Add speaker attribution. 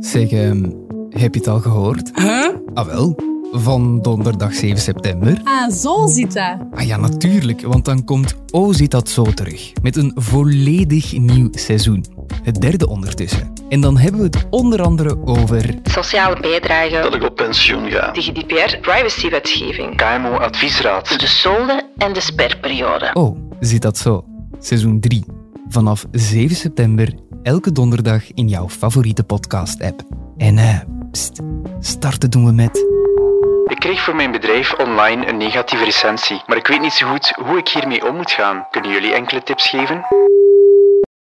Speaker 1: Zeg, ehm, heb je het al gehoord?
Speaker 2: Huh?
Speaker 1: Ah wel, van donderdag 7 september.
Speaker 2: Ah, zo zit dat.
Speaker 1: Ah ja, natuurlijk, want dan komt O zit dat zo terug. Met een volledig nieuw seizoen. Het derde ondertussen. En dan hebben we het onder andere over...
Speaker 3: sociale bijdrage,
Speaker 4: dat ik op pensioen ga.
Speaker 3: de GDPR, privacywetgeving, Dus
Speaker 4: KMO-adviesraad.
Speaker 3: de solde en de sperperiode.
Speaker 1: Oh, zit dat zo? Seizoen 3. Vanaf 7 september, elke donderdag in jouw favoriete podcast-app. En eh, pst, starten doen we met...
Speaker 4: Ik kreeg voor mijn bedrijf online een negatieve recensie, maar ik weet niet zo goed hoe ik hiermee om moet gaan. Kunnen jullie enkele tips geven?